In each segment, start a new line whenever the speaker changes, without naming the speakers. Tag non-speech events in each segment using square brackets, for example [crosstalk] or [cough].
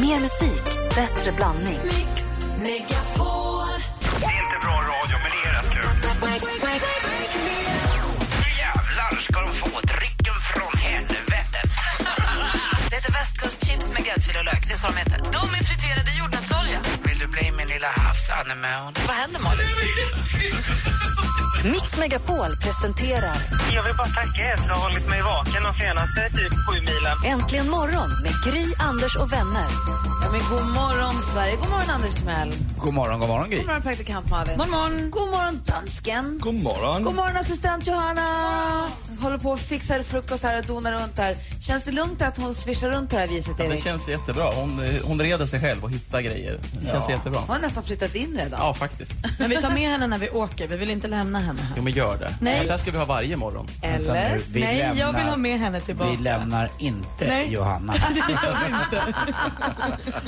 Mer musik, bättre blandning.
Mix Megapol.
Det är inte bra radio, men det är rätt kul. Nu jävlar ska de få drycken från helvetet.
Det heter västkustchips med gräddfil och lök. Det är så de heter. De är friterade i jordnötsolja.
Vill du bli min lilla havsanemon?
Vad händer, Malin?
[laughs] Mix Megapol presenterar
Jag vill bara tacka er för att ha hållit mig vaken de senaste typ sju milen.
Äntligen morgon med Gry, Anders och vänner.
Ja, men god morgon, Sverige. God morgon, Anders Timell.
God morgon, god morgon Gry.
God morgon, praktikant Malin. God morgon. God morgon, dansken.
God morgon.
God morgon, assistent Johanna. Håller på och fixar frukost här och donar runt här. Känns det lugnt att hon svischar runt på det här viset,
Ja, det
Erik?
känns jättebra. Hon, eh, hon reder sig själv och hittar grejer. Det känns jättebra.
Hon har nästan flyttat in redan.
Ja, faktiskt.
Men vi tar med henne när vi åker. Vi vill inte lämna henne här.
Jo, men gör det.
Nej.
Men Så här ska vi ha varje morgon.
Vänta
Eller?
nu, vi
Nej,
lämnar,
jag vill ha med henne tillbaka.
Vi lämnar inte
Nej.
[laughs]
Johanna.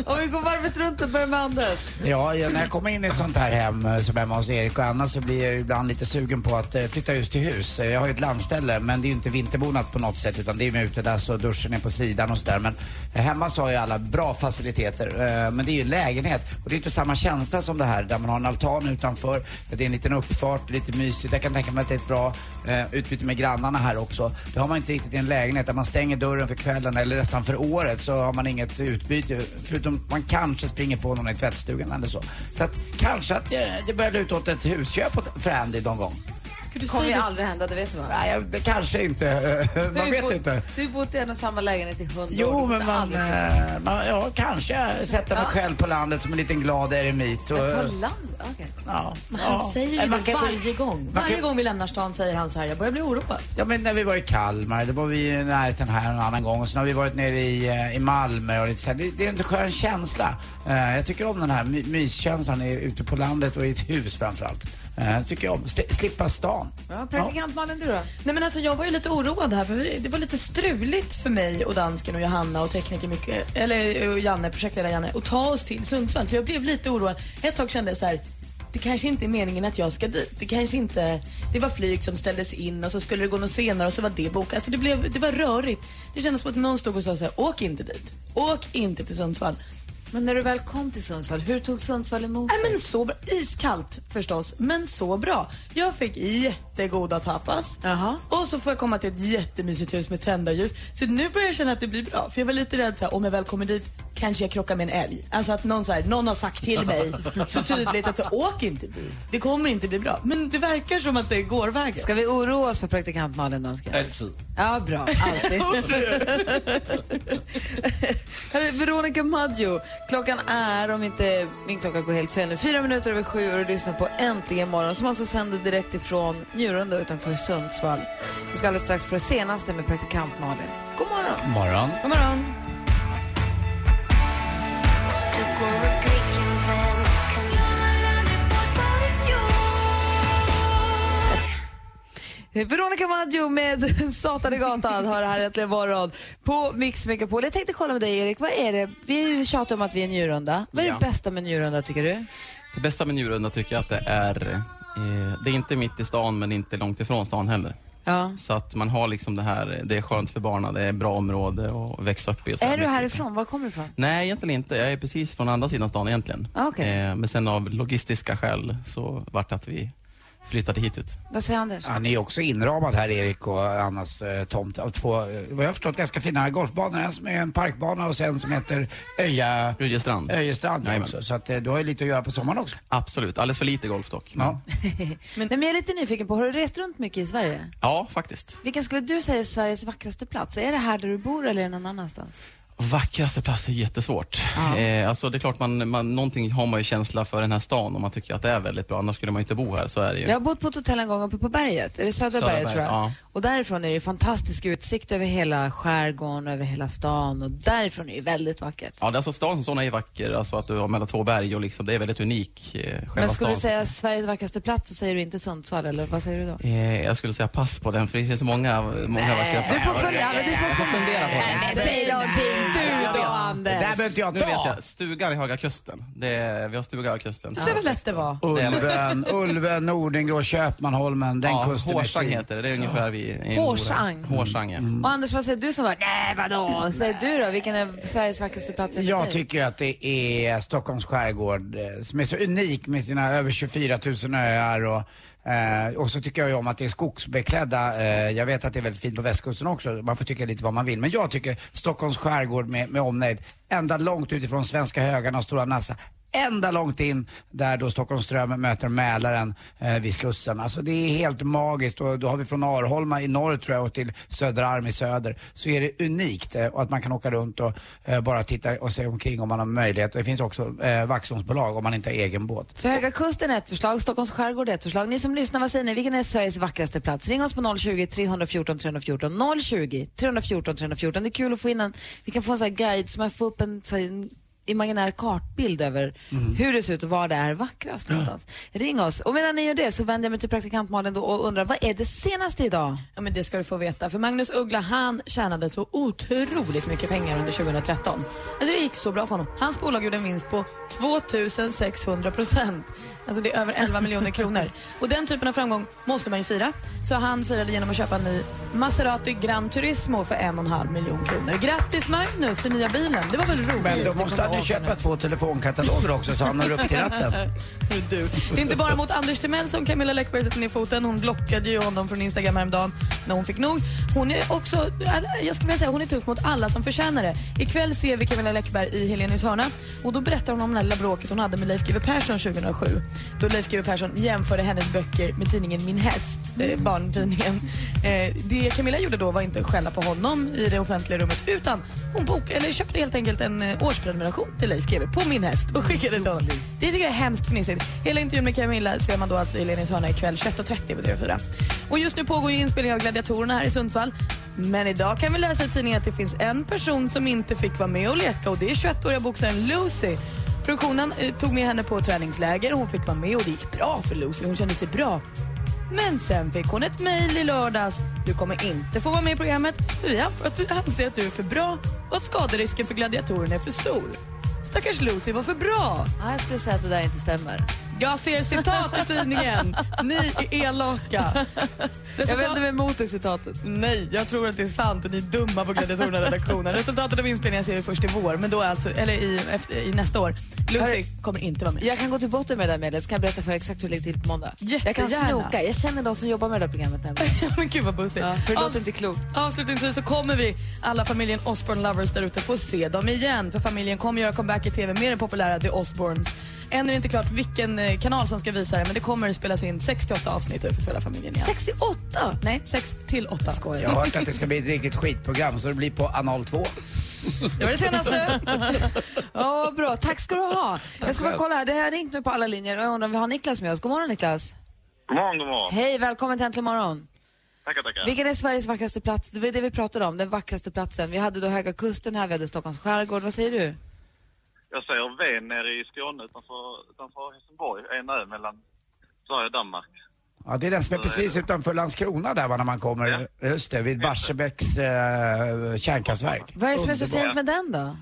Om vi går varvet runt och börjar med Anders.
Ja, jag- när jag kommer in i ett sånt här hem eh, som hemma hos Erik och Anna så blir jag ju ibland lite sugen på att eh, flytta just till hus. Eh, Jag har ju ett landställe men det är ju inte vinterbonat på något sätt utan det är med utedass och duschen är på sidan och sådär. Men eh, hemma så har ju alla bra faciliteter. eh, Men det är ju en lägenhet och det är inte samma känsla som det här där man har en altan utanför. Det är en liten uppfart, lite mysigt. Jag kan tänka mig att det är ett bra eh, utbyte med grannarna här också. Det har man inte riktigt i en lägenhet där man stänger dörren för kvällen eller nästan för året så har man inget utbyte. Förutom man kanske springer på någon i tvättstugan eller så. Så att kanske att eh, det, det börjar luta åt ett husköp åt- för Andy någon gång.
Du
kommer ju
säger
aldrig hända, det vet du va?
Nej, jag- det kanske inte. [laughs] eh,
Du har
Man
ju
vet
bott-
inte.
Du har ju bott i en och samma lägenhet i hundra år.
Jo,
Du
men
kommer
man,
aldrig-
eh, man ja, kanske sätter mig själv på landet som en liten glad eremit. Och,
På
eh,
land? Okej.
ja, ja.
Han säger ju
Nej, man
det
kan inte-
varje gång.
kan-
Varje gång vi lämnar stan säger han så här, jag börjar bli oroad.
Ja men när vi var i Kalmar, då var vi ju i närheten här en annan gång och sen har vi varit nere i, eh, i Malmö och lite så här, det, det är en skön känsla. Eh, jag tycker om den här my- myskänslan i- ute på landet och i ett hus framförallt. Uh, jag tycker om, Sli- slippa stan.
Ja, praktikant Malin, du då?
Nej men alltså jag var ju lite oroad här för vi, det var lite struligt för mig och dansken och Johanna och tekniker mycket, eller och Janne, projektledare Janne, att ta oss till Sundsvall. Så jag blev lite oroad. Ett tag kände jag så här, det kanske inte är meningen att jag ska dit. Det kanske inte, det var flyg som ställdes in och så skulle det gå något senare och så var det bokat. Alltså det, blev, det var rörigt. Det kändes som att någon stod och sa så här, åk inte dit. Åk inte till Sundsvall.
Men när du väl kom till Sundsvall, hur tog Sundsvall emot
Nej,
dig?
men så bra. Iskallt förstås, men så bra. Jag fick jättegoda tapas.
Jaha.
Och så får jag komma till ett jättemysigt hus med tända ljus. Så nu börjar jag känna att det blir bra. För jag var lite rädd så här, om jag väl kommer dit kanske jag krockar med en älg. Alltså att någon, så här, någon har sagt till mig så tydligt att så, åk inte dit. Det kommer inte bli bra. Men det verkar som att det går vägen.
Ska vi oroa oss för praktikant Malin Dansken?
Alltid.
Ja, bra. Alltid. Här är Veronica Maggio. Klockan är, om inte min klocka går helt fel nu, fyra minuter över sju och du lyssnar på Äntligen morgon som alltså sänder direkt ifrån Njurunda utanför Sundsvall. Vi ska alldeles strax få det senaste med praktikant Malin. God morgon!
God morgon.
God morgon.
Veronica Maggio med [laughs] Satan i gatan har det här äntligen morgon på Mix Megapol. Jag tänkte kolla med dig Erik, vad är det, vi tjatar om att vi är njurunda. Vad är det
Ja.
bästa med njurunda tycker du?
Det bästa med Njurunda tycker jag att det är... Eh, det är inte mitt i stan, men inte långt ifrån stan heller.
Ja.
Så att man har liksom det här, eh, det är skönt för barnen, det är bra område att växa upp i. och så
Är du
mycket.
härifrån? Var kommer du ifrån?
Nej, egentligen inte. Jag är precis från andra sidan stan egentligen.
Ah, Okej.
Eh, men sen av logistiska skäl så vart det att vi flyttade hit ut.
Vad säger Anders?
Han är ju också inramad här, Erik och Annas eh, tomt, av två, eh, vad jag har förstått, ganska fina golfbanor. En som är en parkbana och sen som heter Öja,
Rydjestrand.
Öjestrand
Jajamän.
också. Så att, eh, du har ju lite att göra på sommaren också.
Absolut. Alldeles för lite golf dock.
Ja.
Men, Nej, men jag är lite nyfiken på, har du rest runt mycket i Sverige?
Ja, faktiskt.
Vilken skulle du säga är Sveriges vackraste plats? Är det här där du bor eller är det någon annanstans?
Vackraste plats är jättesvårt. Eh, alltså det är klart, man, man, någonting har man ju känsla för den här stan om man tycker att det är väldigt bra. Annars skulle man ju inte bo här, så är det ju.
Jag har bott på ett hotell en gång uppe på berget, är det södra,
Södra
berget tror jag?
berget, ja.
Och därifrån är det fantastisk utsikt över hela skärgården, över hela stan och därifrån är det väldigt vackert.
Ja, det är alltså stan som sådan är ju vacker, alltså att du har mellan två berg och liksom, det är väldigt unik, eh, själva
Men skulle
stan.
du säga Sveriges vackraste plats så säger du inte Sundsvall, eller vad säger du då?
Eh, jag skulle säga pass på den, för det finns så många, många vackra
Du får
platser.
fundera, men du får
Jag får fundera på det.
Nej, säg någonting
Jag
du då,
vet.
Det där
Anders.
behöver inte jag
Nu vet
ta.
jag, stugan i Höga Kusten. Det är, vi har stuga i Höga Kusten.
Du ser väl lätt det var?
Ulven, Ulven, Nordingrå, Köpmanholmen, den
Ja,
kusten är
Hårsang
fin.
heter det. Det är ungefär vi i Mora.
Hårsang.
Hårsang, ja.
Mm.
Och Anders, vad säger du som var nej vadå? Säger du då, vilken är Sveriges vackraste plats enligt
Jag
dig?
tycker ju att det är Stockholms skärgård eh, som är så unik med sina över 24 000 öar och, eh, och så tycker jag ju om att det är skogsbeklädda. Eh, jag vet att det är väldigt fint på västkusten också. Man får tycka lite vad man vill. Men jag tycker Stockholms skärgård med, med omnejd, ända långt utifrån svenska högarna och Stora Nassa. Ända långt in där då Stockholms ström möter Mälaren eh, vid Slussen. Alltså det är helt magiskt och då har vi från Arholma i norr tror jag och till Söderarm i söder så är det unikt eh, och att man kan åka runt och eh, bara titta och se omkring om man har möjlighet. Det finns också eh, Vaxholmsbolag om man inte har egen båt.
Så Höga Kusten är ett förslag, Stockholms skärgård är ett förslag. Ni som lyssnar, vad säger ni? Vilken är Sveriges vackraste plats? Ring oss på 020-314 314. 020 314 314. Det är kul att få in en, vi kan få en sån här guide så man får upp en, så här, en imaginär kartbild över hur det ser ut och var det är vackrast någonstans. Ring oss. Och medan ni gör det så vänder jag mig till praktikant Malin då och undrar, vad är det senaste idag?
Ja, men det ska du få veta. För Magnus Uggla han tjänade så otroligt mycket pengar under 2013. Alltså det gick så bra för honom. Hans bolag gjorde en vinst på 2600 procent. Alltså det är över 11 miljoner kronor. Och den typen av framgång måste man ju fira. Så han firade genom att köpa en ny Maserati Gran Turismo för 1,5 miljon kronor. Grattis Magnus till nya bilen. Det var väl roligt?
Men då måste han ju köpa två telefonkataloger också så han når upp till ratten.
[laughs] Du. Det är inte bara mot Anders Timell som Camilla Läckberg sätter ner foten. Hon blockade ju honom från Instagram häromdagen när hon fick nog. Hon är också, jag skulle vilja säga hon är tuff mot alla som förtjänar det. Ikväll ser vi Camilla Läckberg i Helenius hörna och då berättar hon om det här lilla bråket hon hade med Leif GW Persson 2007. Då Leif GW Persson jämförde hennes böcker med tidningen Min häst, eh, barntidningen. Eh, det Camilla gjorde då var inte att skälla på honom i det offentliga rummet utan hon bok, eller köpte helt enkelt en eh, årsprenumeration till Leif GW på Min häst och skickade till honom. Det tycker jag är hemskt fnissigt. Hela intervjun med Camilla ser man då alltså i Lenins hörna ikväll 21.30 på TV4. Och just nu pågår ju inspelningen av Gladiatorerna här i Sundsvall. Men idag kan vi läsa i tidningen att det finns en person som inte fick vara med och leka och det är 21-åriga boxaren Lucy. Produktionen eh, tog med henne på träningsläger och hon fick vara med och det gick bra för Lucy. Hon kände sig bra. Men sen fick hon ett mejl i lördags. Du kommer inte få vara med i programmet. Vi anser att du är för bra och att skaderisken för gladiatorerna är för stor. Stackars Lucy var för bra.
Ja, jag skulle säga att det där inte stämmer.
Jag ser citat i tidningen. Ni är elaka.
Jag
Resultat...
vänder mig emot det citatet.
Nej, jag tror att det är sant och ni är dumma på Gladiatorerna-redaktionen. Resultatet av inspelningen ser vi först i vår, men då är alltså, eller i, efter, i nästa år. Lucy kommer inte vara med.
Jag kan gå till botten med det där medlet, så kan jag berätta för er exakt hur det ligger till på måndag. Jag kan
Jättegärna.
snoka, jag känner de som jobbar med det där programmet [laughs] nämligen.
Men gud vad bussigt.
Ja, för det
Avs-
låter inte klokt.
Avslutningsvis så kommer vi alla familjen Osbourne Lovers där ute få se dem igen. För familjen kommer göra comeback i TV med den populära The Osbournes. Än är det inte klart vilken eh, kanal som ska visa det men det kommer spelas in 68 avsnitt och vi får följa familjen igen.
68!
Nej, 6 till 8.
Skojar.
Jag har hört att det ska bli ett riktigt skitprogram så det blir på anal 2.
Det var det senaste.
alltså. Ja, vad bra. Tack ska du ha. Jag ska bara kolla här. Det här har ringt nu på alla linjer och jag undrar om vi har Niklas med oss. God morgon Niklas.
God morgon, god morgon.
Hej, välkommen till Äntligen morgon.
Tackar, tackar.
Vilken är Sveriges vackraste plats? Det var det vi pratade om, den vackraste platsen. Vi hade då Höga Kusten här, vi hade Stockholms skärgård. Vad säger du?
Jag säger Ven nere i Skåne utanför, utanför Helsingborg. En ö mellan Sverige och Danmark.
Ja, det är den som är precis utanför Landskrona där va, när man kommer. Just det, vid Barsebäcks eh, kärnkraftverk.
Vad är det som är så
Underbart.
fint med den då?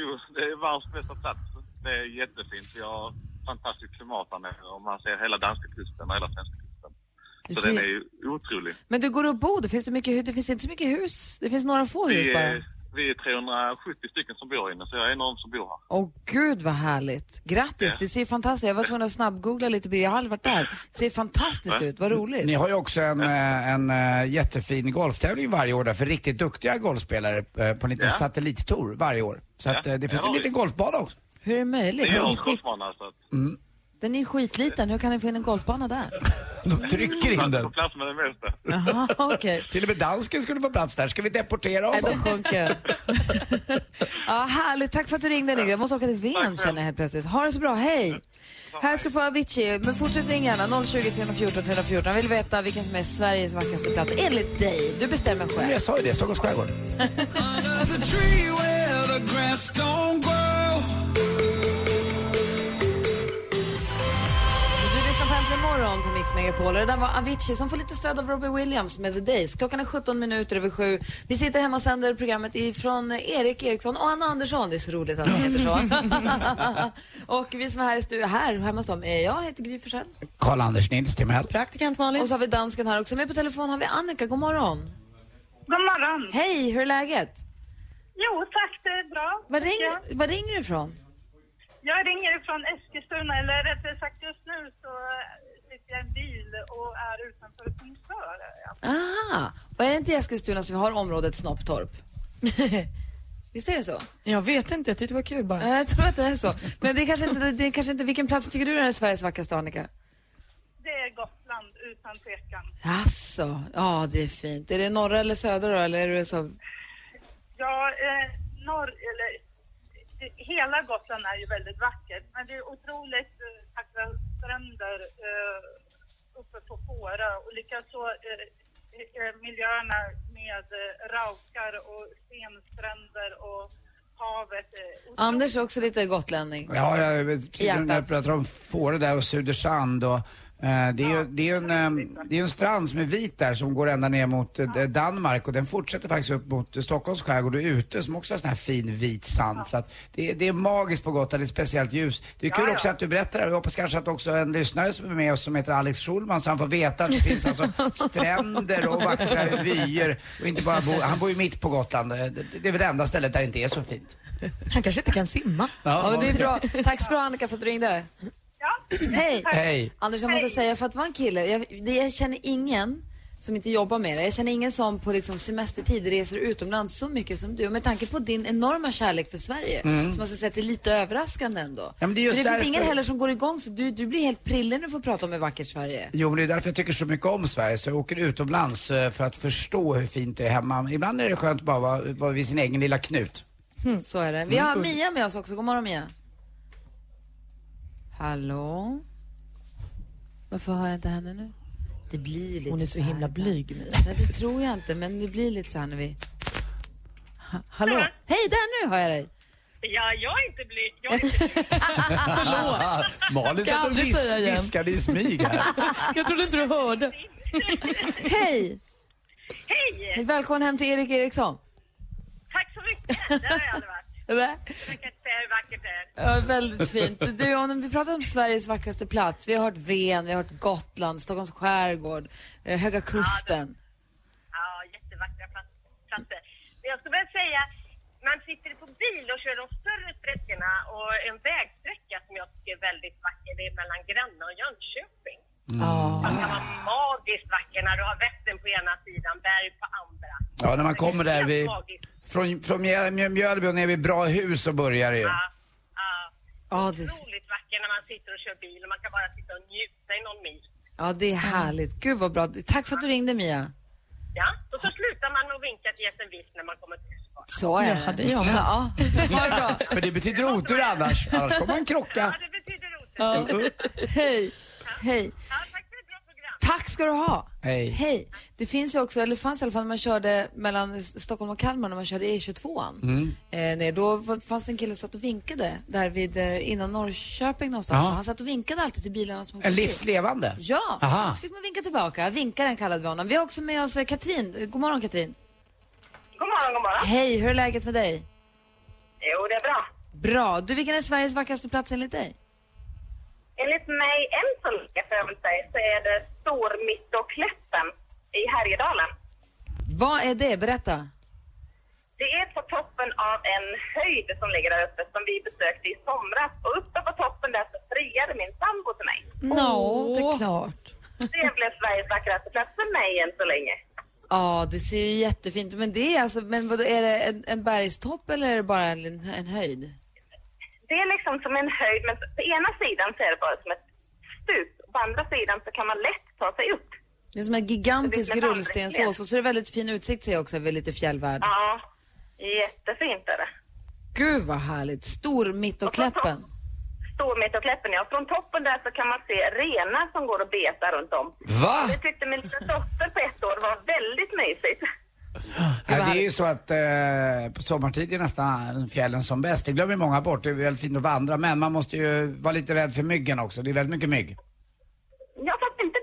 Jo, det är världens bästa plats. Det är jättefint. Vi har fantastiskt klimat där nere och man ser hela danska kusten och hela svenska kusten.
Du
Så
ser-
den är ju otrolig.
Men du går och bor, det finns, det, mycket, hu- det finns inte så mycket hus. Det finns några få hus
Vi
bara.
är, vi är 370 stycken som bor inne, så jag är en av dem som bor här.
Åh gud vad härligt. Grattis, det ser ju fantastiskt Jag var tvungen att snabbgoogla lite, jag har aldrig varit där. Det ser fantastiskt ut, vad
Ni
roligt.
har ju också en, eh, en eh, jättefin golftävling varje år där för riktigt duktiga golfspelare eh, på en liten
Ja.
satellittour varje år. Så att, eh, det finns
Ja,
en
oj.
liten golfbana också.
Hur är det möjligt?
Det är
Den
jag
är,
som
skit,
golfbana, så att...
den är skitliten, hur kan ni få in en golfbana där?
De trycker in
Man får
den.
plats med det mesta.
Jaha, okej.
Till och med dansken skulle få plats där. Ska vi deportera
Nej, då
honom?
sjunker den. ja, Härligt, tack för att du ringde Nigga. Jag måste åka till Ven känner jag helt plötsligt. Ha det så bra, hej! Här ska du få Avicii, men fortsätt ringa gärna. 020 314 314. Jag vill veta vilken som är Sveriges vackraste plats enligt dig. Du bestämmer själv.
Jag sa ju det, Stockholms skärgård.
Du lyssnar på Äntligen morgon morgon på Mix Megapol. Och Det där var Avicii som får lite stöd av Robbie Williams med The Days. Klockan är 17 minuter över sju. Vi sitter hemma och sänder programmet ifrån Erik Eriksson och Anna Andersson. Det är så roligt att han heter så. och vi som är här i studion, här hemma hos dem, är jag heter Gry Forssell.
Karl-Anders Nils Timell.
Praktikant Malin.
Och så har vi dansken här också. Med på telefon har vi Annika. God morgon.
God morgon.
Hej, hur är läget?
Jo, tack. Det är bra.
Var,
tycker jag.
ring, var ringer du ifrån?
Jag ringer från Eskilstuna, eller rättare sagt just nu så sitter jag i en bil och är utanför Kungsör. Ja.
Aha. Och är det inte i Eskilstuna som vi har området Snopptorp? [laughs] Visst är det så?
Jag vet inte, jag tyckte det var kul bara.
Ja, Jag tror att det är så. Men det är kanske inte, det är kanske inte vilken plats tycker du är Sveriges vackraste, Annika?
Det är Gotland, utan tvekan.
Alltså, ja det är fint. Är det norra eller södra då, eller är det så?
Ja, eh, norr, eller det- hela Gotland är ju väldigt vackert, men det är otroligt eh, vackra stränder eh, uppe på Fårö och likaså eh, eh, miljöerna med eh, raukar och stenstränder och havet. eh, otroligt
Anders är också lite gotlänning.
Ja, jag, precis som jag
Hjärtat.
pratar om Fårö där och Sudersand och eh, det är, ju- det, är ju en, eh, det är ju en strand som är vit där som går ända ner mot eh, Danmark och den fortsätter faktiskt upp mot eh, Stockholms skärgård och Utö som också har sån här fin vit sand. Så att det, det är magiskt på Gotland, det är speciellt ljus. Det är kul
ja.
också att du berättar det här. Jag hoppas kanske att också en lyssnare som är med oss som heter Alex Schulman så han får veta att det finns alltså
[laughs]
stränder och vackra vyer. Och inte bara bo, han bor ju mitt på Gotland. Eh, Det, det är väl det enda stället där det inte är så fint.
Han kanske inte kan simma.
Ja, men det är bra. Tack ska du ha Annika för att du ringde.
Ja,
Hej!
Hej.
Anders, jag måste
Hej.
säga, för att vara en kille, jag, det, jag känner ingen som inte jobbar med det. Jag känner ingen som på liksom semestertid reser utomlands så mycket som du. Och med tanke på din enorma kärlek för Sverige så måste jag säga att det är lite överraskande ändå.
Mm. Ja, men det är just
för det finns
därför-
ingen heller som går igång så du, du blir helt prillig när du får prata om hur vackert Sverige är.
Jo, men det är därför jag tycker så mycket om Sverige. Så jag åker utomlands eh, för att förstå hur fint det är hemma. Ibland är det skönt att bara vara, vara vid sin egen lilla knut.
Mm.
Så är det. Vi har Mia med oss också. God morgon Mia. Hallå? Varför har jag inte henne nu? Det blir ju lite
Hon är så
här
himla
ibland.
blyg Mia.
[laughs] Nej, det tror jag inte, men det blir lite så här när vi... Ha, hallå? Hej, där nu hör jag dig!
ja jag är inte blyg. Jag är inte
Ah, Malin
Ska satt och aldrig vis- säga igen.
viskade i smyg här.
Jag trodde inte du hörde.
Hej!
[laughs] Hej!
Välkommen hem till Erik Eriksson.
Tack så mycket. Det har jag aldrig varit.
Va?
Jag kan inte säga hur vackert det är.
Ja, väldigt fint. Du, om vi pratar om Sveriges vackraste plats. Vi har hört Ven, vi har hört Gotland, Stockholms skärgård, eh, Höga Kusten.
Ja, jättevackra plats- platser. Men jag skulle vilja säga, man sitter på bil och kör de större sträckorna och en vägsträcka som jag tycker är väldigt vacker, det är mellan Gränna och Jönköping.
Ja.
Den kan vara magiskt vacker när du har Vättern på ena sidan, berg på andra.
Ja, när man kommer där
Helt
vid,
magiskt.
från, från Mjö- Mjö- Mjölby och ner vid Bra hus så börjar det ju.
Ja, ja.
Ja, det,
Otroligt vacker när man sitter och kör bil och man kan bara sitta och njuta i någon mil.
ja, det är härligt. Gud vad bra. Tack för att du ringde Mia.
Ja, och så slutar man och vinkar till gästen vitt när man kommer till Husqvarna.
Så är
Ja, det är jag med.
Ja, [laughs] ha det bra.
För det betyder otur annars. Annars kommer man krocka.
Ja, det betyder roligt.
Hej. Hej.
Ja, tack för ett bra program.
Tack ska du ha.
Hej.
Hej. Det finns ju också, eller fanns i alla fall när man körde mellan S- Stockholm och Kalmar när man körde E22. Mm. Eh, ner, då var- fanns det en kille som satt och vinkade där vid, eh, innan Norrköping någonstans.
Ja.
Han satt och vinkade alltid till bilarna som åkte
En
förbi.
livslevande.
Ja,
Aha.
så fick man vinka tillbaka. Vinkaren kallade vi honom. Vi har också med oss eh, Katrin. Eh, God morgon Katrin.
God morgon, god morgon.
Hej, hur är läget med dig?
Jo, det är bra.
Bra. Du, vilken är Sveriges vackraste plats enligt dig?
Enligt mig, än så länge får jag väl säga, så är det Stormittoklätten i Härjedalen.
Vad är det? Berätta.
Det är på toppen av en höjd som ligger där uppe som vi besökte i somras. Och uppe på toppen där så friade min sambo till mig.
Nå, det är klart.
Det blev Sveriges vackraste plats för mig än så länge.
Ja, det ser ju jättefint ut. Men det är alltså, men vadå, är det en, en bergstopp eller är det bara en, en höjd?
Det är liksom som en höjd, men på ena sidan så är det bara som ett stup. På andra sidan så kan man lätt ta sig upp.
Det är som en
Det
gigantisk
blir som en
rullstensås
vandring.
och så är det väldigt fin utsikt ser jag också över lite fjällvärld.
Ja, jättefint är det.
Gud vad härligt. Stor mitt och kläppen.
Stormittokläppen, ja. Från toppen där så kan man se renar som går och betar runt om.
Va?
Ah.
Det tyckte min lilla dotter på ett år var väldigt mysigt.
Ja, det är ju så att eh, på sommartid är nästan fjällen som bäst. Det glömmer många bort. Det är väl fint att vandra men man måste ju vara lite rädd för myggen också. Det är väldigt mycket mygg.
Ja, fast inte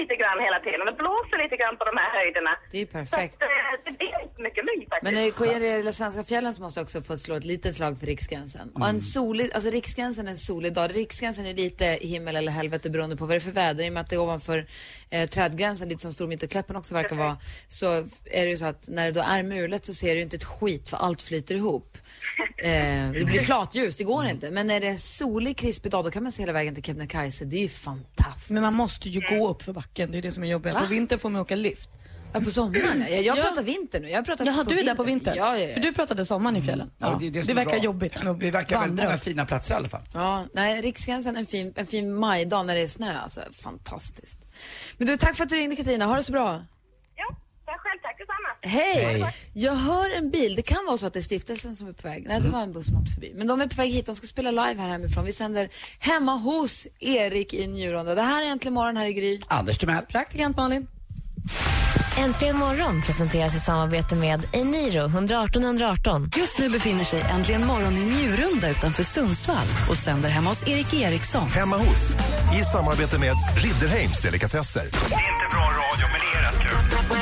lite grann hela tiden. Det blåser lite grann på de här höjderna.
Det är ju
Så
perfekt.
att, eh, det blir inte mycket mygg faktiskt.
Men när det gäller de svenska fjällen så måste jag också få slå ett litet slag för Riksgränsen. Och en solig, alltså Riksgränsen är en solig dag. Riksgränsen är lite himmel eller helvete beroende på vad det är för väder. I och med att det är ovanför eh, trädgränsen, lite som Stormitterkläppen också verkar vara, så är det ju så att när det då är mulet så ser du ju inte ett skit för allt flyter ihop. Eh, det blir flatljus, det går inte. Men när det är solig, krispig dag, då kan man se hela vägen till Kebnekaise. Det är ju fantastiskt.
Men man måste ju gå upp för backen, det är det som är jobbigt.
Va?
På vintern får man åka lift.
Ja, på sommaren. Jag, jag pratar vinter nu. Jag pratar
Jaha,
på
du är där på vintern?
Ja, ja, ja.
För du pratade sommaren i fjällen.
Ja,
Ja.
det är
Det,
det som är
verkar
bra.
jobbigt med att
Det verkar väldigt
vandra.
många fina platser i alla fall.
Ja, nej, Riksgränsen en fin, en fin majdag när det är snö. Alltså, fantastiskt. Men du, tack för att du ringde Katarina. Ha det så bra.
Ja, tack själv. Tack detsamma.
Hej!
Hej.
Jag hör en bil. Det kan vara så att det är stiftelsen som är på väg. Nej,
Mm.
det var en buss som åkte förbi. Men de är på väg hit. De ska spela live här hemifrån. Vi sänder hemma hos Erik i Njurunda. Det här är Äntligen morgon här i Gry.
Anders Timell.
Praktikant Malin.
Äntligen morgon presenteras i samarbete med Eniro 118 118.
Just nu befinner sig Äntligen morgon i Njurunda utanför Sundsvall och sänder hemma hos Erik Eriksson.
Hemma hos, i samarbete med Ridderheims Delikatesser.
Det är inte bra radio, men det är rätt kul.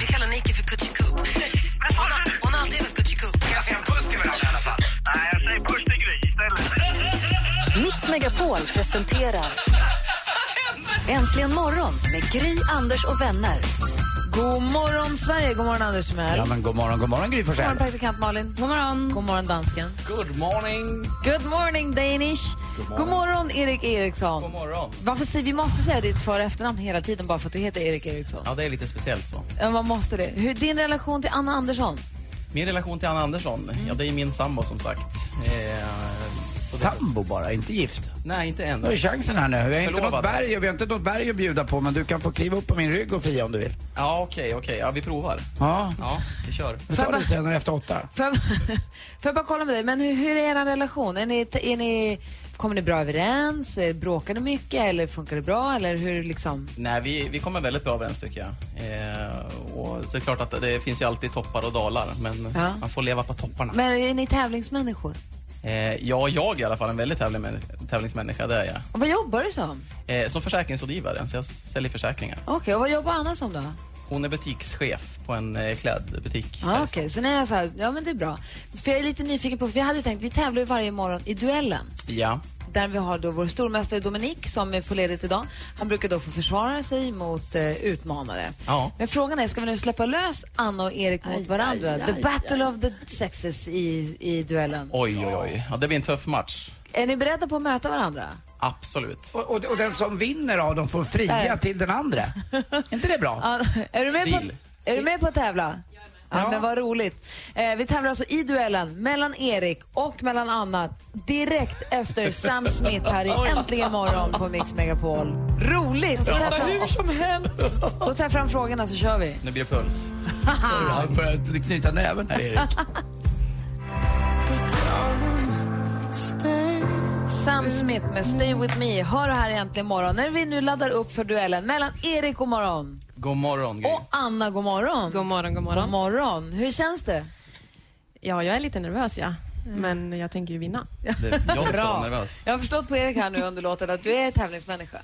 Vi kallar Nike för Kutjiku. Hon, har- hon har alltid hetat Kutjiku.
Kan jag säga en puss till varandra i alla fall? Nej, jag säger puss till Gry istället.
Mix Megapol presenterar Äntligen morgon med Gry, Anders och vänner.
God morgon Sverige. God morgon Anders Timell.
Ja men god morgon, god morgon Gry
God morgon
Forssell.
praktikant Malin. God morgon. God morgon dansken.
Good morning!
Good morning Danish. God morgon, Erik Eriksson.
God morgon!
Varför säger vi måste säga ditt för och efternamn hela tiden bara för att du heter Erik Eriksson?
Ja, det är lite speciellt så.
Ja. Man måste det. Hur, din relation till Anna Andersson?
Min relation till Anna Andersson, ja det är min sambo som sagt. Eh, så det,
Sambo bara, inte gift.
nej, inte än.
Nu är chansen här nu. Vi har, inte
Förlovad.
något berg, vi har inte något berg att bjuda på men du kan få kliva upp på min rygg och fia om du vill.
Ja, okej, okej. Ja, vi provar.
Ja,
Ja, vi kör.
vi tar det senare efter åtta.
Får jag, [laughs] får jag bara kolla med dig, men hur, hur är er relation? Är ni, är ni, kommer ni bra överens? Eh, Bråkar ni mycket eller funkar det bra? Eller hur liksom?
Nej, vi, vi kommer väldigt bra överens tycker jag. Eh, och så är det klart att det finns ju alltid toppar och dalar, men
Ja.
man får leva på topparna.
Men är ni tävlingsmänniskor?
Eh, ja, jag är i alla fall en väldigt tävling- tävlingsmänniska, det är jag.
Och vad jobbar du som?
Eh, som försäkringsrådgivare, så jag säljer försäkringar.
Okej, och vad jobbar Anna som då?
Hon är butikschef på en eh, klädbutik.
Ja, Ah, Okej, så när jag så här, ja men det är bra. För jag är lite nyfiken på, för vi hade ju tänkt, vi tävlar ju varje morgon i duellen.
Ja.
Där vi har då vår stormästare Dominik som är får ledigt idag. Han brukar då få försvara sig mot eh, utmanare.
Ja.
Men frågan är, ska vi nu släppa lös Anna och Erik mot varandra? the battle of the sexes i, i duellen.
Oj, oj, oj. Ja, det blir en tuff match.
Är ni beredda på att möta varandra?
Absolut.
Och, och, och den som vinner av dem får fria
Där.
till den andra. Är inte det bra?
Ja, [laughs] är, du med
Deal.
på, är du med på att tävla? Ja,
Ja.
men vad roligt. Eh, vi tävlar alltså i duellen mellan Erik och mellan Anna direkt efter Sam Smith här i Äntligen morgon på Mix Megapol. Roligt! Så tar jag fram,
som helst.
då tar jag fram frågorna så kör vi.
Nu blir det puls.
Han börjar knyta näven här Erik.
Sam Smith med Stay With Me hör här äntligen morgon när vi nu laddar upp för duellen mellan Erik god morgon
[laughs] God morgon, Gry.
och Anna god morgon.
God morgon, god morgon.
God morgon. Hur känns det?
Ja, jag är lite nervös, ja.
Mm.
Men jag tänker ju vinna.
Det- Jag ska vara nervös.
Jag har förstått på Erik här nu under låten att du är tävlingsmänniska.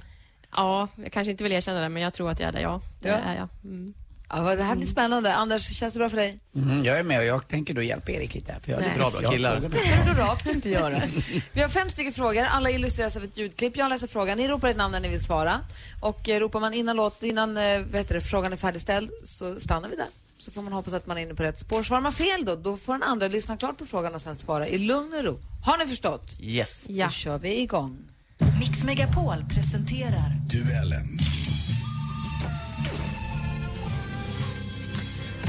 Ja, jag kanske inte vill erkänna det, men jag tror att jag är det, ja. Det
Ja.
är jag. Mm.
Ja, vad- det här blir spännande. Anders, känns det bra för dig?
Mm, jag är med och jag tänker då hjälpa Erik lite. här, För jag är
Nej.
Bra, bra killar.
Det ska du då rakt inte göra. Vi har fem stycken frågor. Alla illustreras av ett ljudklipp. Jag läser frågan. Ni ropar ett namn när ni vill svara. Och eh, ropar man innan, låt, innan eh, vet du, det, frågan är färdigställd så stannar vi där. Så får man hoppas att man är inne på rätt spår. Svarar man fel då, då får den andra lyssna klart på frågan och sen svara i lugn och ro. Har ni förstått?
Yes.
Ja.
Då kör vi igång.
Mix Megapol presenterar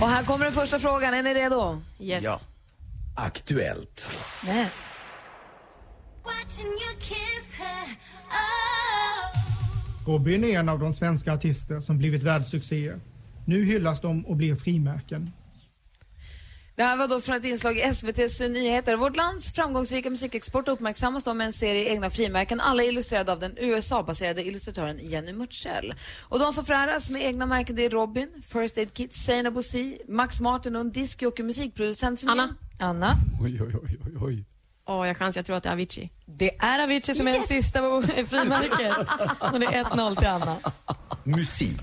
Och här kommer den första frågan. Är ni redo?
Yes.
Ja.
Aktuellt.
Nej.
Oh.
Robin är en av de svenska artister som blivit världssuccéer. Nu hyllas de och blir frimärken.
Det här var då från ett inslag i SVT's nyheter. Vårt lands framgångsrika musikexport uppmärksammas då med en serie egna frimärken, alla illustrerade av den USA-baserade illustratören Jenny Murtzell. Och de som föräras med egna märken det är Robin, First Aid Kit, Seinabo Bosi, Max Martin och en discjockey musikproducent som...
Anna.
Anna.
Anna,
Oj, oj, oj, oj, oj.
Och jag chansar, jag tror att det är Avicii.
Det är Avicii som är den sista [laughs] på frimärket. Och det är 1-0 till Anna.
Musik.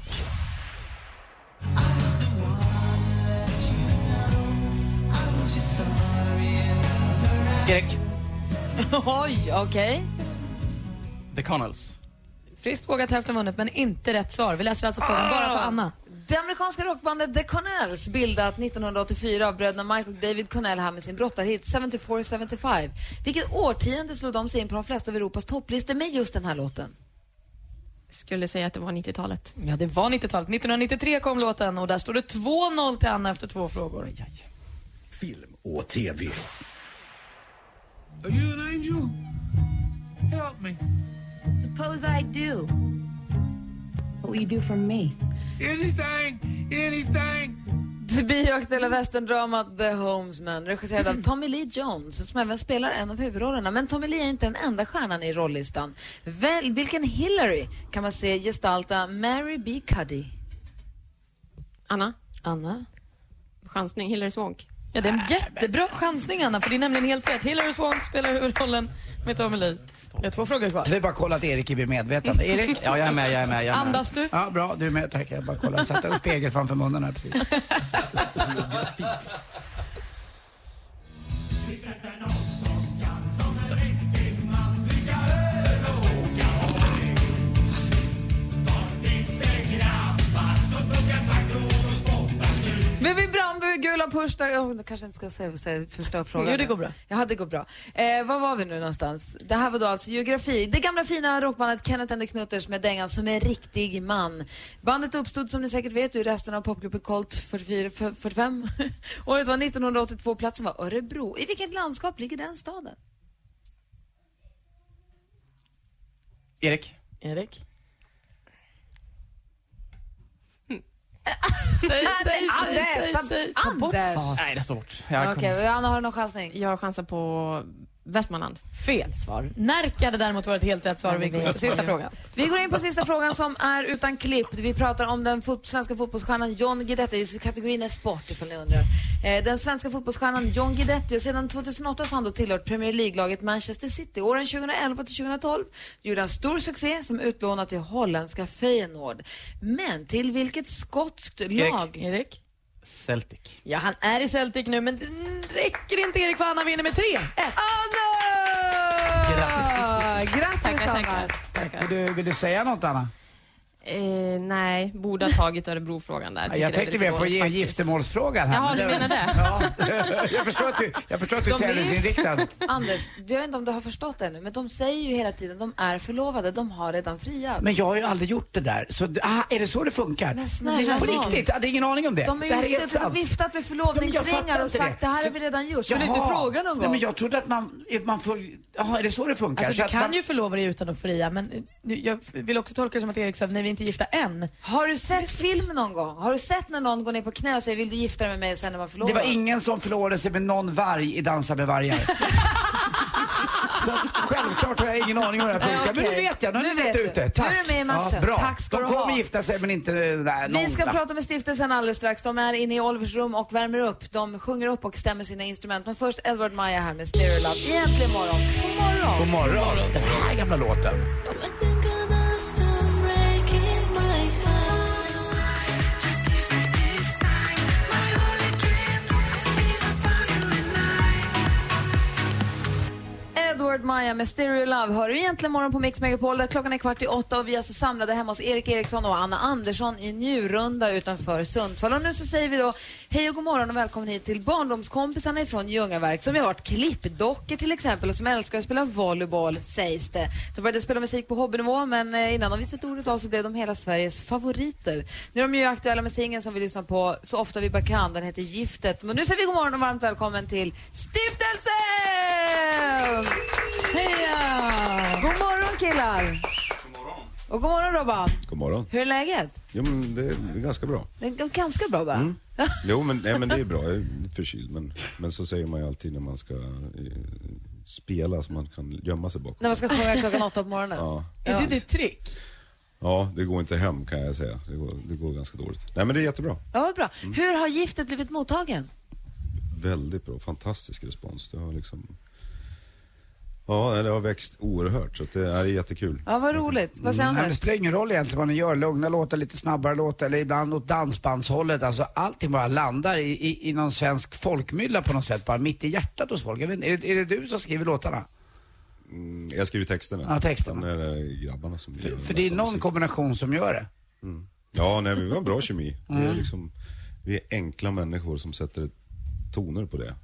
Grek.
Oj, okej.
The Connells.
Friskt vågat hälften vunnet, men inte rätt svar. Vi läser alltså frågan bara för Anna.
Det amerikanska rockbandet The Connells, bildat 1984 av bröderna Mike och David Connell här med sin brottarhit 74-75. Vilket årtionde slog de sig in på de flesta av Europas topplistor med just den här låten?
Skulle säga att det var 90-talet.
Ja, det var 90-talet. 1993 kom låten och där står det 2-0 till Anna efter två frågor.
Film och TV.
Are you an angel? Help me.
Suppose I do. What will you do for me?
Anything, anything.
Bioaktuella västerndramat The Homesman, regisserad av Tommy Lee Jones, som även spelar en av huvudrollerna. Men Tommy Lee är inte den enda stjärnan i rollistan. Väl, vilken Hillary kan man se gestalta Mary B. Cuddy?
Anna?
Anna?
Chansning, Hillary Swank.
Ja, det är en jättebra chansning, Anna, för det är nämligen helt rätt. Hillary Swank spelar huvudrollen med Tommy Lee. Jag har två frågor kvar.
Vi har bara kollat att Erik är vid medvetande. Erik?
Ja, jag är med, jag är med. Jag är med.
Andas du?
Ja, bra. Du är med, tack. Jag bara kollar.
[laughs]
Jag satte en spegel framför munnen här precis.
Bubi Brandby, Gula Pushdag... Oh, jag kanske inte ska säga så jag förstör frågan.
Jo, det går bra.
Ja, det går bra. Eh, var var vi nu någonstans? Det här var då alltså geografi. Det gamla fina rockbandet Kenneth and the Knutters med dängan som en riktig man. Bandet uppstod som ni säkert vet ur resten av popgruppen Colt 44, f- 45. [laughs] Året var 1982, platsen var Örebro. I vilket landskap ligger den staden?
Erik.
Erik?
Säg, säg,
Anders, ta- Anders!
Nej, det står bort.
Okej,
Jag kommer-
Anna har du någon chansning?
Jag chansar på Västmanland.
Fel svar. Närke hade däremot varit helt rätt svar. Viggo. Sista frågan.
Vi går in på sista frågan som är utan klipp. Vi pratar om den fot svenska fotbollsstjärnan John Guidetti. I Kategorin är sport ifall ni undrar. Eh, den svenska fotbollsstjärnan John Guidetti. Sedan 2008 så har han då tillhört Premier League-laget Manchester City. Åren 2011 till 2012 gjorde han stor succé som utlånad till holländska Feyenoord. Men till vilket skotskt lag?
Erik?
Celtic.
Ja, han är i Celtic nu, men det räcker inte Erik för Anna vinner med 3-1.
Grattis! Grattis
Tackar, tackar.
Tack. Vill du, vill du säga något, Anna?
Eh, nej, borde ha tagit Örebrofrågan där.
Jag,
Tycker det är
tänkte
lite
mer på e-
dåligt
gi-
faktiskt.
giftermålsfrågan här.
Jaha, du menar det?
[laughs] jag förstår att du, jag förstår att du är
De är-
tennisinriktad.
Anders, jag vet inte om du har förstått det ännu, men de säger ju hela tiden de är förlovade, de har redan friat.
Men jag har ju aldrig gjort det där. Så, d- ah, är det så det funkar?
Men snälla
på
nån.
riktigt? Jag hade ingen aning om det.
De
det
har
här
ju
är helt
suttit
sant.
och viftat med
Ja, men jag
förlovningsringar
fattar
och
inte
sagt det,
det.
här har
Så-
vi redan gjort. Skulle
Jaha.
inte fråga någon
Nej,
gång?
men jag trodde att man, man får... Jaha, är det så det funkar?
Alltså,
Så
du
att
kan
man,
ju förlova dig utan att fria, men eh, nu- jag vill också tolka det som att Erik sa, nej vi är inte gifta än.
Har du sett film någon gång? Har du sett när någon går ner på knä och säger vill du gifta dig med mig och sen när man
Det
förlovad?
var ingen som förlorade sig med någon varg i Dansa
[laughs]
med vargar. Så att självklart har jag ingen aning om hur det här funkar.
Nej, okej.
Men nu vet jag, nu,
Nu
nu vet
vet
du
du.
ute.
Nu
Tack.
är du med i matchen.
bra.
Tack ska
De
du
kommer
ha.
gifta sig men inte... Nej,
Vi ska
någon-
prata med stiftelsen alldeles strax. De är inne i Olivers rum och värmer upp. De sjunger upp och stämmer sina instrument. Men först Edward Maja här med Stereo Love. Egentligen morgon. God morgon.
God morgon. Den här gamla låten.
Edward Maja med Stereo Love hör du egentligen morgon på Mix Megapol där klockan är kvart i åtta och vi är alltså samlade hemma hos Erik Eriksson och Anna Andersson i Njurunda utanför Sundsvall. Och nu så säger vi då hej och god morgon och välkommen hit till barndomskompisarna ifrån Ljungaverk som ju har varit klippdockor till exempel och som älskar att spela volleyboll sägs det. De började spela musik på hobbynivå men eh, innan de visste ordet av så blev de hela Sveriges favoriter. Nu är de ju aktuella med singeln som vi lyssnar på så ofta vi bara kan. Den heter Giftet. Men nu säger vi god morgon och varmt välkommen till Stiftelsen! Heja! God morgon killar! God morgon. Och god morgon Robban.
God morgon.
Hur är läget?
Jo, men det är det är ganska bra.
Det är ganska bra va?
Mm. Jo, men, nej, men det är bra. Jag är lite förkyld, men, men så säger man ju alltid när man ska eh, spela så man kan gömma sig bakom.
[laughs] När man ska sjunga klockan åtta på morgonen.
Ja.
Är det ditt trick?
ja, det går inte hem kan jag säga. Det går, det går ganska dåligt. Nej, men det är jättebra.
Ja, vad bra. Hur har giftet blivit mottagen?
Väldigt bra. Fantastisk respons. Det har liksom... Ja, det har växt oerhört så att det är jättekul.
Ja, vad roligt. Vad säger
Mm, Det
Anders?
spelar ingen roll egentligen vad ni gör. Lugna låtar, lite snabbare låtar eller ibland åt dansbandshållet. Alltså allting bara landar i, i, i någon svensk folkmylla på något sätt. Bara mitt i hjärtat hos folk. Jag vet, inte, är, det, är det du som skriver låtarna?
Mm, Jag skriver texterna.
Ja, texterna.
Sen är det grabbarna som gör
För det är
mesta
någon
musik.
kombination som gör det.
Mm. Ja, nej, vi har en bra kemi. Vi,
Mm.
är liksom, vi är enkla människor som sätter toner på det.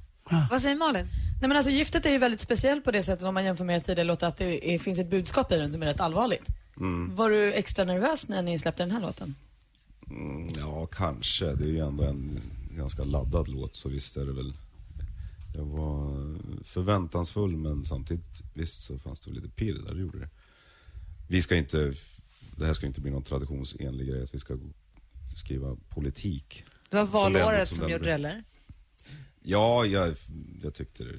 Vad säger Malin?
Nej, men alltså, giftet är ju väldigt speciellt på det sättet om man jämför med tidigare låtar att det är, finns ett budskap i den som är rätt allvarligt.
Mm.
Var du extra nervös när ni släppte den här låten?
Mm, ja, kanske. Det är ju ändå en ganska laddad låt så visst är det väl. Jag var förväntansfull men samtidigt visst så fanns det väl lite pirr där, det gjorde det. Vi ska inte, det här ska inte bli någon traditionsenlig grej att vi ska skriva politik.
Det var
Som ändå-
valåret som
den-
gjorde det, eller?
Ja, jag, jag tyckte det.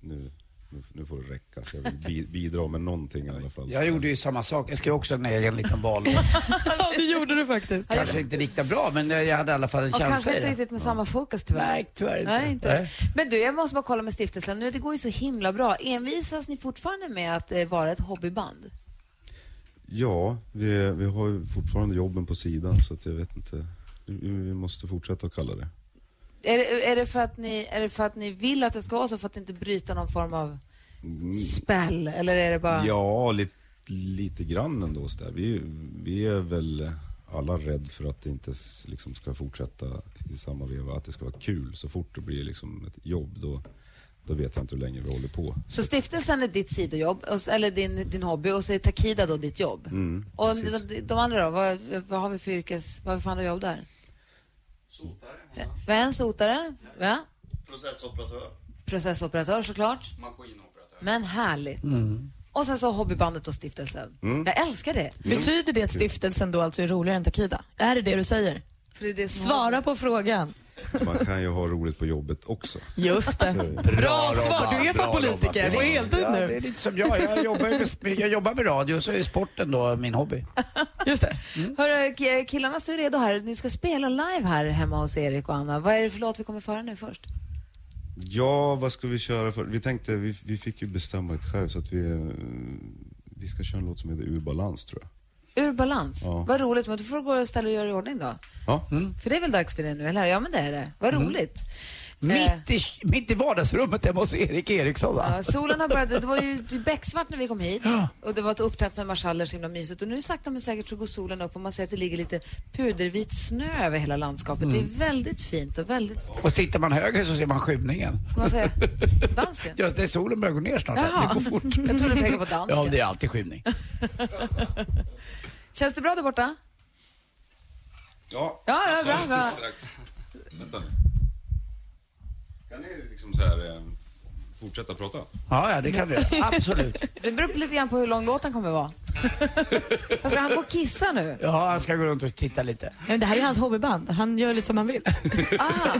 Nu, nu, nu får det räcka. Så jag vill bi- bidra med någonting i alla fall.
Jag gjorde ju samma sak. Jag skrev också en egen liten val.
ja, det gjorde du faktiskt.
Kanske inte lika bra men eh, jag jag hade i alla fall en
Och
känsla
kanske
i
inte
det.
riktigt med samma fokus tyvärr.
Nej, tyvärr inte.
Nej, inte.
Nej.
Men du, jag måste bara kolla med stiftelsen. Nu, det går ju så himla bra. Envisas ni fortfarande med att eh, vara ett hobbyband?
Ja, vi, vi har ju fortfarande jobben på sidan så att jag vet inte. Vi, vi måste fortsätta att kalla det.
Är det, är, det för att ni, är det för att ni vill att det ska vara så för att inte bryta någon form av
Mm.
spell? Eller är det bara...
Ja, lite, lite grann ändå. Så där. Vi, vi är väl alla rädd för att det inte s- liksom ska fortsätta i samma veva, att det ska vara kul. Så fort det blir liksom ett jobb, då, då vet jag inte hur länge vi håller på.
Så stiftelsen är ditt sidojobb, och s- eller din, din hobby, och så är Takida då ditt jobb?
Mm,
Och
precis.
de, de andra då? Vad, vad har vi för yrkes... Vad har vi för andra jobb där? Sotare. Vad är en sotare? Ja.
Processoperatör.
Processoperatör såklart.
Maskinoperatör.
Men härligt. Och sen så hobbybandet och stiftelsen.
Mm.
Jag älskar det.
Betyder det att stiftelsen då alltså är roligare än Takida? Är det det du säger?
För det är det som
Svara på frågan.
Man kan ju ha roligt på jobbet också.
Just det.
Bra
svar. Du är fan
Bra
politiker
jobbat.
på heltid
Ja, det
nu.
är lite som jag. Jag jobbar, ju med, jag jobbar med radio så är sporten då
[laughs]
min hobby.
Mm. Hörru, k- killarna står ju redo här. Ni ska spela live här hemma hos Erik och Anna. Vad är det för låt vi kommer föra nu först?
Ja, vad ska vi köra för? Vi tänkte, vi, vi fick ju bestämma ett själv så att vi, eh, vi ska köra en låt som heter Ur balans tror jag.
Ur balans.
Ja.
Vad roligt. Men du får du gå och ställa och göra i ordning då. Mm.
Ja.
För det är väl dags för det nu, eller? Ja, men det är det. Vad
Mm.
roligt. Eh,
Mitt i, mitt i vardagsrummet hemma hos Erik Eriksson. va?
Ja, solen har börjat, det var ju becksvart när vi kom hit och det var ett upptänt med marschaller så himla mysigt och nu sakta men säkert så går solen upp och man ser att det ligger lite pudervit snö över hela landskapet.
Mm.
Det är väldigt fint och väldigt,
Och tittar man höger så ser man skymningen.
får man säga,
[laughs]
dansken.
Ja, det är solen börjar gå ner snart.
Jaha.
Det går
[laughs]
fort.
Jag trodde du pekade på dansken.
Ja, det är alltid skymning.
Känns det bra där borta?
Ja,
Ja, ja, bra,
alldeles
bra.
strax. Vänta nu. Kan ni liksom så här eh, fortsätta prata?
Ja, ja det kan vi göra. Absolut.
Det beror lite grann på hur lång låten kommer vara. Vad Ska han gå och kissa nu?
Ja, han ska gå runt och titta lite.
Ja, men Det här är hans hobbyband. Han gör lite som han [laughs] vill.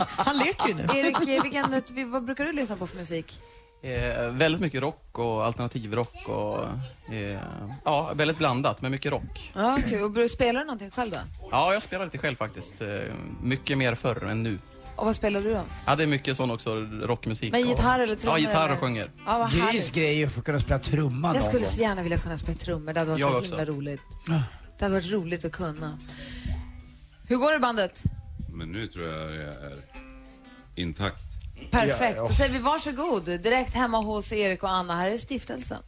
Han leker ju nu.
Erik, eh, vilken, eh, vi- vad brukar du lyssna på för musik?
Eh, väldigt mycket rock och alternativrock och eh, ja, väldigt blandat men mycket rock.
Ja, okej. Och br- spelar du någonting själv då?
Ja, jag spelar lite själv faktiskt. Eh, mycket mer förr än nu.
Och vad spelar du då?
Ja, det är mycket sån också, rockmusik.
Men
och-
gitarr eller trummor
Ja, gitarr
eller?
och sjunger.
Ja, vad
Gris
härligt.
grej är ju att få kunna spela trumma
Jag
någon
skulle
gång.
så gärna vilja kunna spela trummor. Det hade varit
Jag
så
också.
himla roligt. Det hade varit roligt att kunna. Hur går det i bandet?
Men nu tror jag jag är intakt.
Perfekt. Då säger vi varsågod. Direkt hemma hos Erik och Anna. Här är stiftelsen.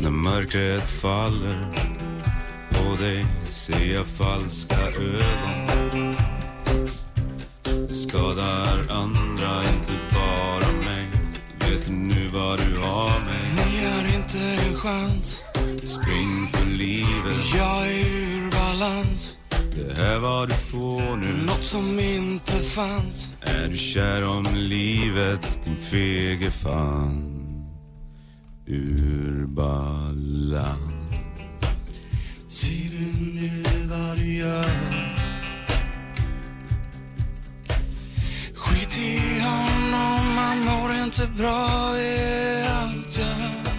När mörkret faller på dig ser jag falska ögon Det skadar andra, inte bara mig Vet du nu vad du har mig?
Ni har inte en chans.
Spring för livet
Jag är ur balans.
Det här vad du får nu
Något som inte fanns.
Är du kär om livet, din fege fan Ur balans
Ser du nu vad du gör? Skit i honom, han mår inte bra i allt jag hör.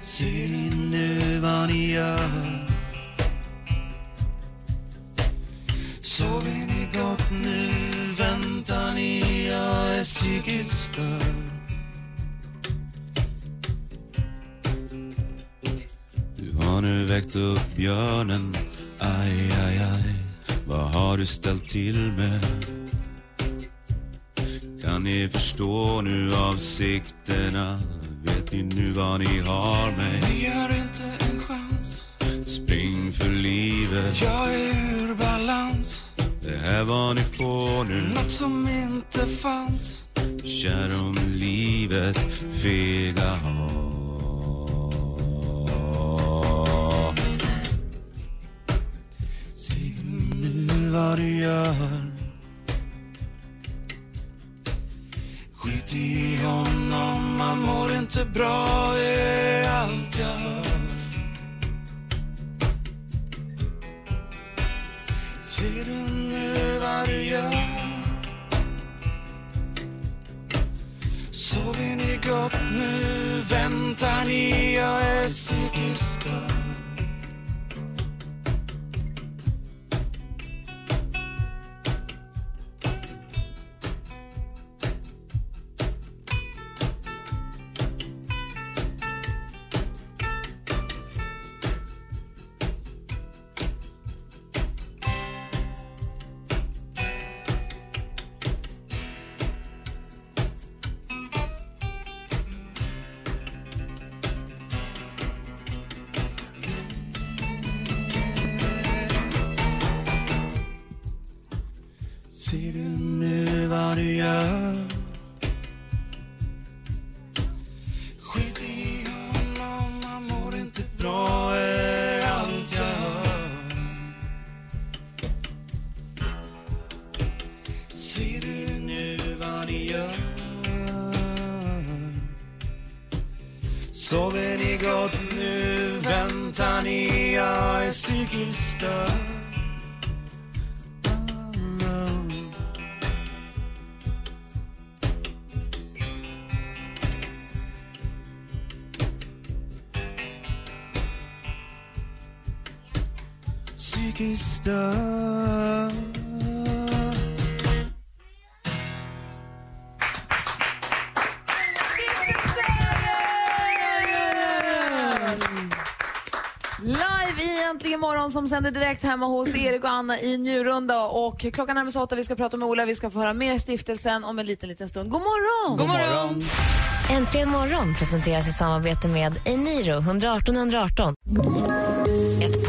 Ser ni nu vad ni gör? Sover ni gott nu? Väntar ni? Jag är psykiskt störd.
Du har nu väckt upp björnen Aj, aj, aj Vad har du ställt till med? Kan ni förstå nu avsikterna? Vet ni nu vad ni har mig?
Ni har inte en chans.
Spring för livet
Jag är ur balans.
Det här vad ni får nu
Något som inte fanns.
Kär om livet, fega hav
nu vad du gör Skit i honom, man mår inte bra, det är allt jag hör Ser du nu vad du gör? Sover ni gott nu? Väntar ni? Jag är psykiskt störd Ser du nu vad du gör? Skit i honom, han mår inte bra, är allt jag hör. Ser du nu vad ni gör? Sover ni gott nu? Väntar ni? Jag är psykiskt störd. psykiskt störd.
Live i Äntligen morgon som sänder direkt hemma hos Erik och Anna i Njurunda. Och klockan närmar sig åtta, vi ska prata med Ola, vi ska få höra mer stiftelsen om en liten, liten stund. God morgon!
Äntligen morgon presenteras i samarbete med Eniro 118 118. Ett